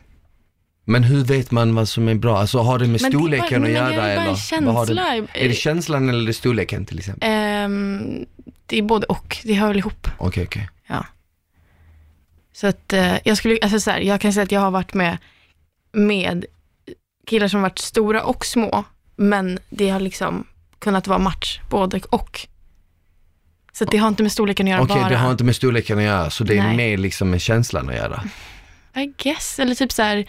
Men hur vet man vad som är bra? Alltså har det med Men det är bara- storleken men det är att göra bara en eller? Vad har känsla. det, är det känslan eller är det storleken till exempel? Ehm, det är både och, det hör väl ihop. Okej, okej. Så att eh, jag skulle, alltså så här, jag kan säga att jag har varit med, med killar som varit stora och små, men det har liksom kunnat vara match både och. Så att det har inte med storleken att göra Okej, bara. det har inte med storleken att göra, så det är Nej. mer liksom med känslan att göra. I guess, eller typ så här,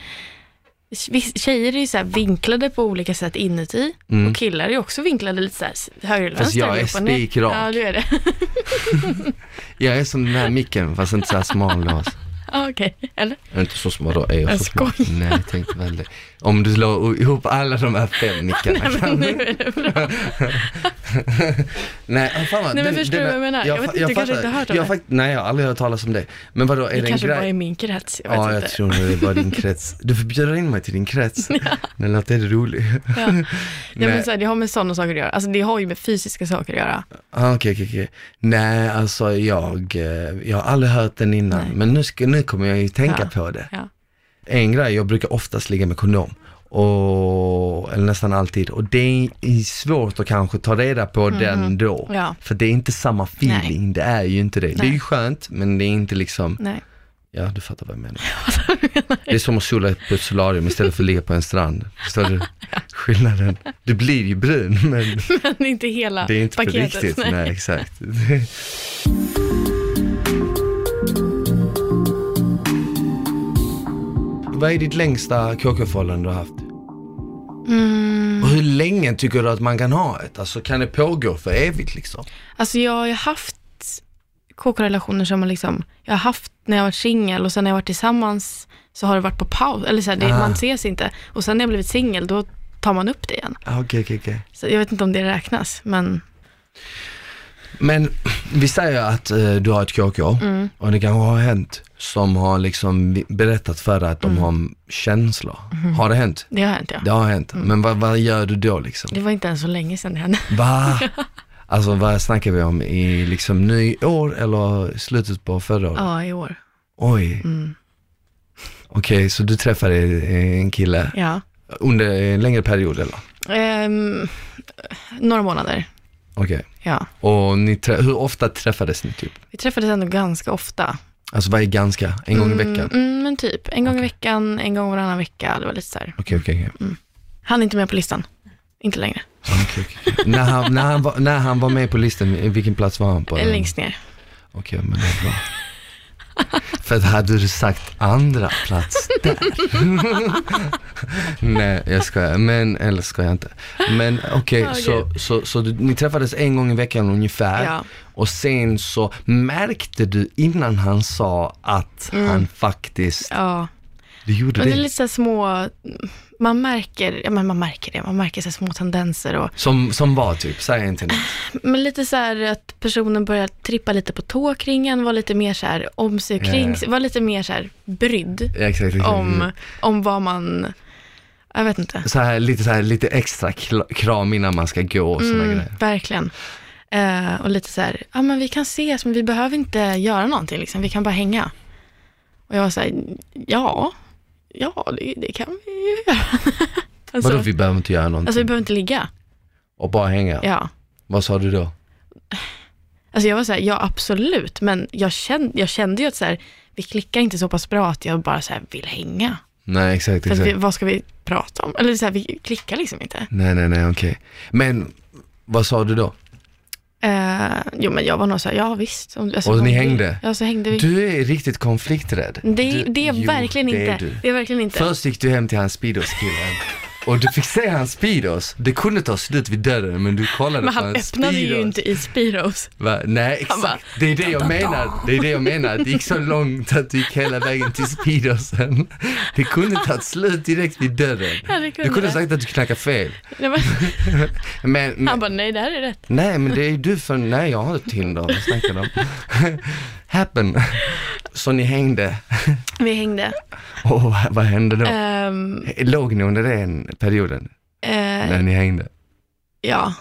viss- tjejer är ju så här vinklade på olika sätt inuti Mm. och killar är ju också vinklade lite så här s- höger eller Fast vänster. jag är upp och ner. spikrak. Ja, du är det. Jag är som den här micken, fast inte så här smal då. alltså. Ja, Okej, eller? Jag är inte så smal då, är jag, Jag så smal? skojar. Nej, jag tänkte väl det. Om du slår ihop alla de här fem mickarna. Nej men nu är det bra. Nej, ah, fan vad, Nej, men förstår du vad jag menar? Jag vet fa- inte, du kanske inte har hört om jag det? fakt- Nej, jag har aldrig hört talas om det. Men vadå, är det, Det en kanske bara grej? är min krets, jag vet Ja, inte. jag tror nog det är bara din krets. Du får bjuda in mig till din krets. Men låt det rolig. Ja. Ja, Nej. men så här, det har med sådana saker att göra. Alltså det har ju med fysiska saker att göra. Ah, okej, okej, okej. Nej, alltså jag, eh, jag har aldrig hört den innan, Nej. men nu, ska, nu kommer jag ju tänka Ja. på det. Ja. En grej, jag brukar oftast ligga med kondom, och, eller nästan alltid, och det är svårt att kanske ta reda på Mm-hmm. den då. Ja, För det är inte samma feeling, det är ju inte det. Det är ju Nej. skönt, men det är inte liksom, nej. ja du fattar vad jag menar. Det är som att sola på ett solarium istället för att ligga på en strand. Förstår du skillnaden? Du blir ju brun, men Men inte hela det är inte paketet. på riktigt, nej, exakt. Vad är ditt längsta KK-förhållande du har haft? Mm. Och hur länge tycker du att man kan ha ett? Alltså kan det pågå för evigt liksom? Alltså jag har ju haft KK-relationer som har liksom, jag har haft när jag har varit singel och sen när jag har varit tillsammans så har det varit på paus, eller så här, det, Ah. man ses inte. Och sen när jag blivit singel, då tar man upp det igen. Ah, Okej, okej, okej. Så jag vet inte om det räknas, men Men vi säger att eh, du har ett KK Mm. och det kanske har hänt som har liksom vi- berättat för dig att Mm. de har känslor. Mm-hmm. Har det hänt? det har hänt ja. Det har hänt. Mm. Men vad, vad gör du då liksom? Det var inte ens så länge sedan det hände. Va? Alltså vad snackar vi om? I liksom nyår eller slutet på förra året? Ja, i år. Oj. Mm. Okej, så du träffade eh, en kille Ja. under en längre period eller? Ehm, några månader, Okej. ja. Och ni trä- hur ofta träffades ni typ? Vi träffades ändå ganska ofta. Alltså vad är ganska? En gång i veckan? Mm, mm, men typ. En gång i veckan, en gång varannan vecka. Det var lite så här. Okej, okej, okej. Han är inte med på listan. Inte längre. Okej, okej, okej. när, han, när, han var, när han var med på listan, i vilken plats var han på? Eh, Längst ner. Okej, men det är bra. För att hade du sagt andra plats där. Nej, jag skojar. Men, eller ska jag inte. Men okej, Ja, så, så, så du, ni träffades en gång i veckan ungefär. Ja. Och sen så märkte du innan han sa att han faktiskt, Ja. du gjorde Men det. Mm. det är lite så här små, man märker, ja, men man märker det, man märker så här små tendenser och, Som, som var typ, säg inte nu. men lite så här att personen börjar trippa lite på tå kring en, var lite mer så här om sig och Ja, Mm. kring, ja. var lite mer så här brydd Ja, Exakt, exakt. om, om vad man, jag vet inte. Så här, lite, så här, lite extra kla- kram innan man ska gå och såna Mm, grejer. verkligen. Eh, och lite så här, ja men vi kan ses men vi behöver inte göra någonting liksom, vi kan bara hänga. Och jag var så här, ja, ja det, det kan vi ju göra. alltså, Vadå, vi behöver inte göra någonting? alltså vi behöver inte ligga, och bara hänga? ja. Vad sa du då? Alltså jag var så här, ja absolut, men jag kände, jag kände ju att så här, vi klickar inte så pass bra att jag bara så här vill hänga. Nej, exakt, För att exakt. Alltså, vi, vad ska vi prata om? Eller så här, vi klickar liksom inte. Nej, nej, nej, okej. Men vad sa du då? Eh, jo men jag var nog så här, ja visst. Om- Alltså, Och om ni vi- hängde? Ja så hängde vi. Du är riktigt konflikträdd. det, Du- det är Jo, verkligen det är inte. du. det är verkligen inte. Först gick du hem till hans Speedos-killen och du fick se hans Speedos. Det kunde ta slut vid dörren, men du kollade men på han öppnade hans ju Speedos. inte i Spiros. Va? Nej, Han bara, exakt. Det är det jag menar. Det är det jag menar. Det gick så långt att du gick hela vägen till Speedosen. Det kunde tagit slut direkt vid dörren. Ja, det Du kunde. kunde sagt att du knackade fel. Nej, men, Men, men han bara, nej det här är rätt. Nej men det är ju du för, nej jag har ett Tinder, vad snackar du om? Happen. Så ni hängde, Vi hängde. och vad hände då? Ehm, Låg ni under den perioden, eh, när ni hängde? ja,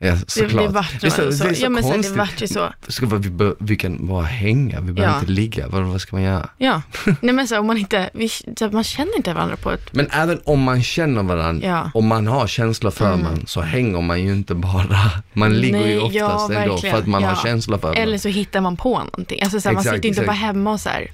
Ja det, det såklart. vart Det är så- nog det så. är så Ja men så här, det konstigt. vart ju så. Ska vi, vi, bör- vi kan bara hänga, vi behöver Ja. inte ligga, vad, vad ska man göra? Ja, nej men så här, om man inte, vi, så här, man känner inte varandra på ett, Men även om man känner varandra, ja. om man har känslor för Mm. man så hänger man ju inte bara. Man ligger ju Nej, ja, oftast ändå verkligen. för att man har Ja. känslor för varandra. Eller så hittar man på någonting. Alltså så här, man Exakt, sitter inte exakt. bara hemma och så här,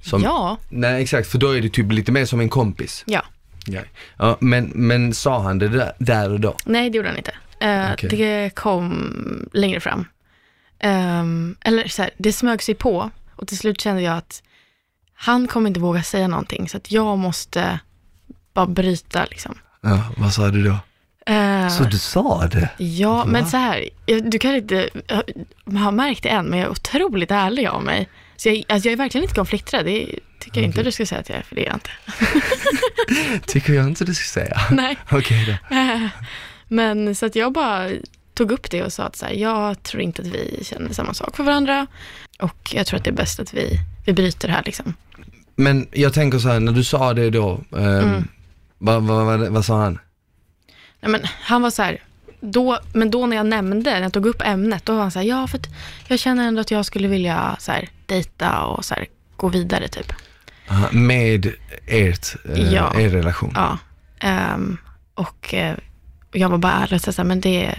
Som- ja, Nej exakt, för då är det typ lite mer som en kompis. ja. Ja. Ja, men, men sa han det där, där och då? Nej det gjorde han inte. Eh, Okej. Det kom längre fram. Ehm, eller så här, det smög sig på och till slut kände jag att han kommer inte våga säga någonting så att jag måste bara bryta liksom. Ja, vad sa du då? Eh, Så du sa det? Ja, men Va? så här, jag- du kanske inte har märkt det än, men jag är otroligt ärlig av mig. Så jag, alltså jag är verkligen inte konflikträdd, det, tycker jag inte du ska säga att jag är, för det är jag inte. Tycker jag inte du ska säga. Nej. Okej då. Eh, Men så att jag bara tog upp det och sa att så här, jag tror inte att vi känner samma sak för varandra och jag tror att det är bäst att vi, vi bryter här liksom. Men jag tänker så här, när du sa det då, ehm, Mm. vad, vad, vad, vad sa han? Nej, men han var så här, då, men då när jag nämnde, när jag tog upp ämnet, då var han så här, ja för att jag känner ändå att jag skulle vilja så här, dejta och så här, gå vidare typ. Aha, Med ert, eh, Ja. er relation? Ja. ehm, och eh, och jag var bara ärlig och sa så här, men det,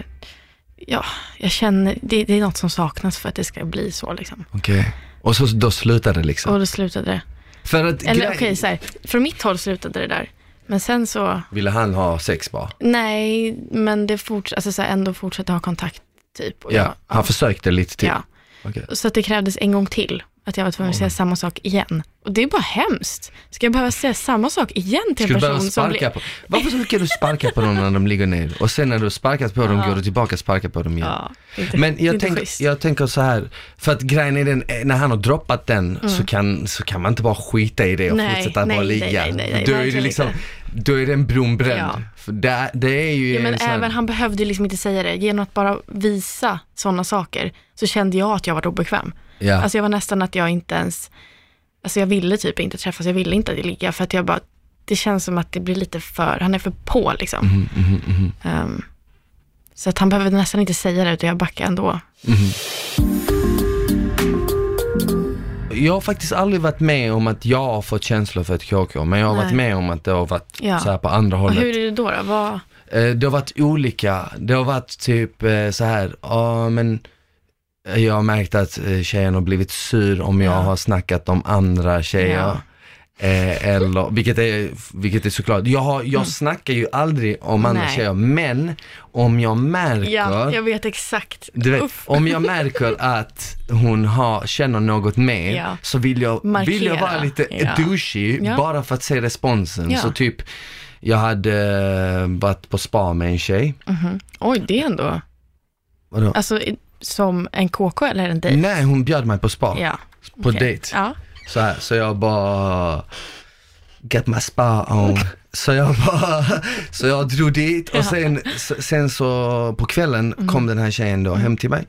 ja, jag känner, det, det är något som saknas för att det ska bli så liksom. Okej. Och så då slutade det liksom? Och då slutade det. För att, Eller grej- okej, så här, från mitt håll slutade det där. Men sen så, Ville han ha sex bara? nej, men det forts- alltså, så här, ändå fortsatte ha kontakt typ. Och jag- Ja, typ. han försökte lite till. ja. Okej. Så att det krävdes en gång till, att jag var tvungen att säga samma sak igen. Och det är bara hemskt. Ska jag behöva säga samma sak igen till en Ska du behöva person som sparka på, varför brukar du sparka på dem när de ligger ner? Och sen när du har sparkat på dem går du tillbaka och sparkar på dem igen. Ja, det är inte, Men det är jag, inte tänk, schysst. jag tänker så här, för att grejen är den, eh, när han har droppat den så, kan, så kan man inte bara skita i det och Mm. Nej, fortsätta nej, bara nej, ligga. nej, nej, nej, då är det verkligen liksom, inte. då är det en bron bränd. Ja. För Det, det är ju Ja, men en sån här- även han behövde ju liksom inte säga det. Genom att bara visa sådana saker så kände jag att jag var obekväm. ja. Alltså jag var nästan att jag inte ens, alltså jag ville typ inte träffas, jag ville inte ligga för att jag bara, det känns som att det blir lite för, han är för på liksom. Mhm, Ehm, så att han behöver nästan inte säga det utan jag backar ändå. Jag har faktiskt aldrig varit med om att jag har fått känslor för ett KK, men jag har Nej. varit med om att det har varit Ja. så här på andra Och hållet. hur är det då? då? Vad, Eh, Det har varit olika. Det har varit typ eh, så här, ja men jag har märkt att eh, tjejen har blivit sur om jag Ja. har snackat om andra tjejer. Ja. Eh, Eller, vilket är, vilket är såklart, jag, har, jag snackar ju aldrig om andra Mm. Nej. tjejer, men om jag märker ja, jag vet exakt. du vet, Uff. om jag märker att hon har, känner något mer Ja. så vill jag, vill Markera. jag vara lite Ja. douchey Ja. bara för att se responsen. Ja. Så typ, jag hade eh, varit på spa med en tjej. Mhm. Oj, det är ändå, Vadå? alltså i- som en KK eller en dejt? Nej, hon bjöd mig på spa, Ja. på okej. dejt. Ja. Så, här, så jag bara, get my spa on. Så jag bara, så jag drog dit och sen, s- sen så på kvällen kom den här tjejen då hem till mig.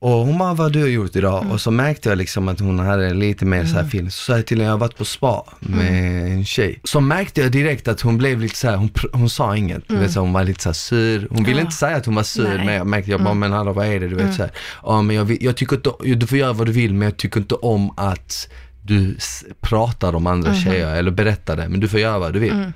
Och hon bara, vad har du gjort idag? Och så märkte jag liksom att hon hade lite mer så här film. Så sa jag till henne, jag har varit på spa med en tjej. Så märkte jag direkt att hon blev lite så här, hon, pr- hon sa inget. Du vet, så hon var lite så här sur. Hon ville Ja. inte säga att hon var sur, Nej. Mm. men jag märkte, jag bara, men hallå vad är det? Du vet så här, ja men jag, vill, jag tycker inte, du får göra vad du vill, men jag tycker inte om att du s- pratar om andra Mhm. tjejer eller berättar det, men du får göra vad du vill. Mm.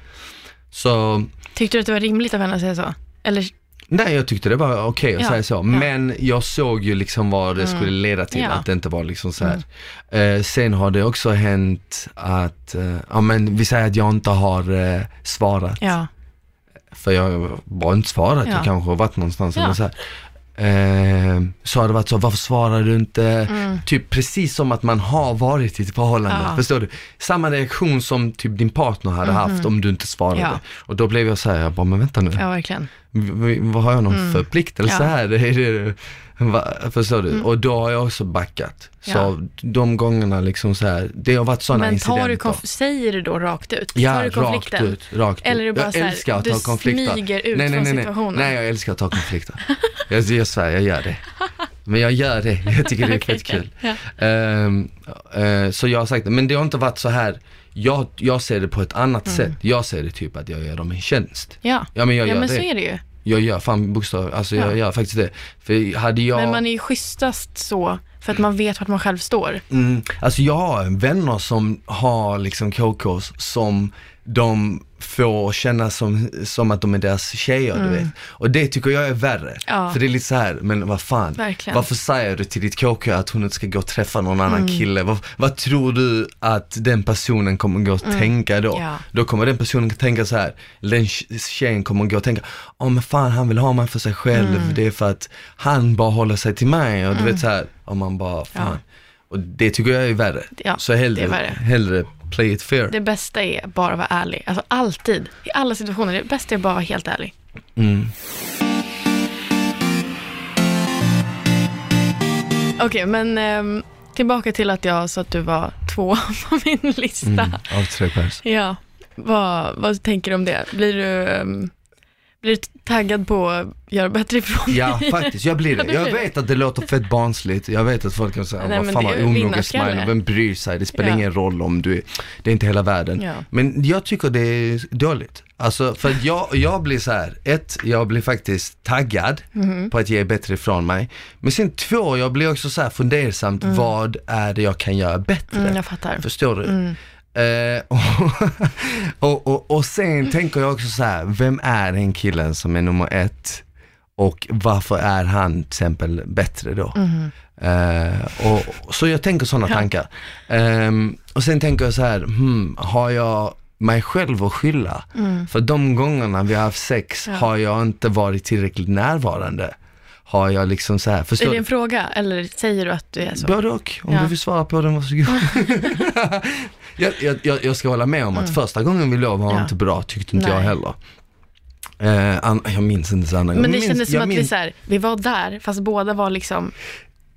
Så Tyckte du att det var rimligt av henne att säga så? Eller, Nej jag tyckte det var okej att Ja, Mm. säga så, men jag såg ju liksom vad det skulle leda till, Ja. Mm. att det inte var liksom så här. Eh, sen har det också hänt att, eh, ja men vi säger att jag inte har eh, svarat, ja. för jag har inte svarat, Ja. jag kanske har varit någonstans Ja. eller så här. Eh, så har det varit så, varför svarar du inte? Typ precis som att man har varit i ett förhållande, Mm. Ja. Mhm. förstår du? Samma reaktion som typ din partner hade haft om du inte svarade. Ja. Och då blev jag så här, jag bara, men vänta nu. ja, verkligen. V- v- Vad har jag någon förpliktelse Ja. Mm. här? Är det, va, förstår du? Och då har jag också backat. Så Ja. de gångerna liksom så här, det har varit sådana Men tar du incidenter. konf- säger du då rakt ut? tar Ja, du rakt konflikten? ut, rakt ut. Eller är det bara jag så här, älskar att du ta konflikter. smyger ut nej, nej, från nej, nej. situationen? Nej, jag älskar att ta konflikter. jag, jag svär, jag gör det. Men jag gör det, jag tycker det är Okej, fett kul. ja. Ehm, eh, så jag har sagt det, men det har inte varit så här, jag, jag ser det på ett annat sätt. Jag ser det typ att jag gör dem en tjänst. Ja, Ja men Mm. ja jag gör men det. så är det ju. Jag gör fan bokstav, alltså jag Ja. gör faktiskt det. För hade jag, Men man är ju schysstast så, för att man vet vart man själv står. mm, alltså jag har vänner som har liksom KKs som de får känna som, som att de är deras tjejer, du vet. Och det tycker jag är värre. Mm. Ja. För det är lite så här, men vad fan. Verkligen. Mm. Varför säger du till ditt KK att hon inte ska gå och träffa någon annan kille? Vad, vad tror du att den personen kommer gå och tänka då? Mm. Ja. Då kommer den personen tänka så här, eller den tje- tjejen kommer gå och tänka, åh men fan han vill ha mig för sig själv, Mm. det är för att han bara håller sig till mig och du vet så här, och man bara fan. Och det tycker jag är värre. Ja, så hellre, det är värre. hellre play it fair. Det bästa är bara att vara ärlig. Alltså alltid, i alla situationer. Det bästa är bara att vara helt ärlig. Mm. Okej, men ehm, tillbaka till att jag sa att du var två på min lista. Mm, av tre pers. Ja, vad, vad tänker du om det? Blir du, ehm, blir du taggad på att göra bättre ifrån Ja, dig? faktiskt. Jag blir Ja, det. du Jag blir det. vet att det låter fett barnsligt. Jag vet att folk kan säga, Nej, vad men fan det är vad ju onoga vinnarskalle. smile, vem bryr sig? Det spelar Ja. ingen roll om du är, det är inte hela världen. Ja. Men jag tycker det är dåligt. Alltså, för att jag, jag blir så här, ett, jag blir faktiskt taggad Mhm. på att ge bättre ifrån mig. Men sen två, jag blir också så här fundersamt, vad är det jag kan göra bättre? Mm, jag fattar. Förstår du? Mm. Eh, och, och, och, och sen tänker jag också så här, vem är den killen som är nummer ett? Och varför är han till exempel bättre då? Mhm. Eh, och, så jag tänker sådana tankar. Ehm, och sen tänker jag så här, hmm, har jag mig själv att skylla? Mm. För de gångerna vi har haft sex har jag inte varit tillräckligt närvarande. Har jag liksom så här, förstår Är du? det en fråga eller säger du att du är så? Både och, om Alltså. Ja. du vill svara på den, varsågod. jag, jag, jag, jag ska hålla med om att första gången vi lov var Mm. Ja. inte bra, tyckte inte Nej. jag heller. Eh, an, jag minns inte så andra gången. Men det Jag minns- kändes som jag att vi, minns- så här, vi var där, fast båda var liksom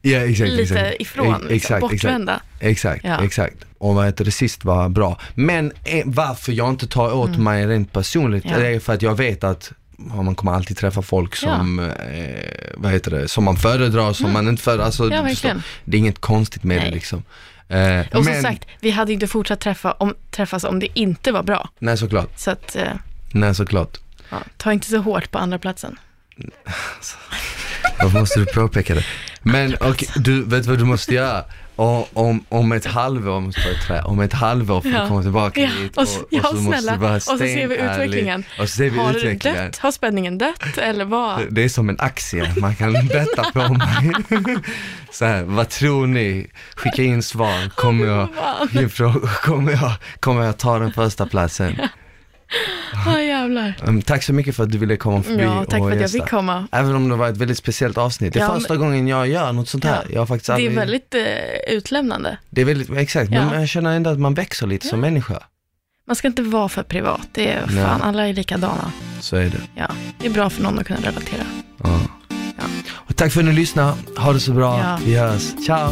ja, exakt, lite exakt. ifrån, E- liksom, bortvända. Exakt, Ja. exakt. Och vad heter det sist var bra. Men eh, varför jag inte tar åt mig rent personligt, Mm. Ja. det är för att jag vet att ja, man kommer alltid träffa folk som, eh, vad heter det, som man föredrar, som man inte föredrar. Alltså, Mm. Ja, du förstår. verkligen. det är inget konstigt med Nej. det liksom. Eh, Och som sagt, vi hade ju inte fortsatt träffa om, träffas om det inte var bra. nej såklart. Så att, eh, Nej såklart. ja, ta inte så hårt på andra platsen. Varför måste du påpeka det? Men okej, du vet vad du måste göra? Om, om, om ett halvår, måste jag trä, om ett halvår får du Ja. komma tillbaka Ja, hit och s- ja, snälla. du vara Och så ser vi stenärlig. utvecklingen. Och så ser vi Har det utvecklingen. dött? Har spänningen dött? Eller vad? Det är som en aktie, man kan betta på mig. Så här, vad tror ni? Skicka in svar, kommer jag, min fråga- kommer jag, kommer jag ta den första platsen? Ja, jävlar. Um, tack så mycket för att du ville komma förbi Ja, tack och för att jag gästa. fick komma. Även om det var ett väldigt speciellt avsnitt. Det är Ja, första gången jag gör något sånt här. Ja. Jag har faktiskt Det aldrig... är väldigt eh, utlämnande. det är väldigt exakt, Ja. men jag känner ändå att man växer lite som människa. Man ska inte vara för privat. Det är Nej. fan, alla är likadana. Så är det. Ja, det är bra för någon att kunna relatera. Ja. Ja. Och tack för att ni lyssnade. Ha det så bra. Ja. Vi hörs. Ciao!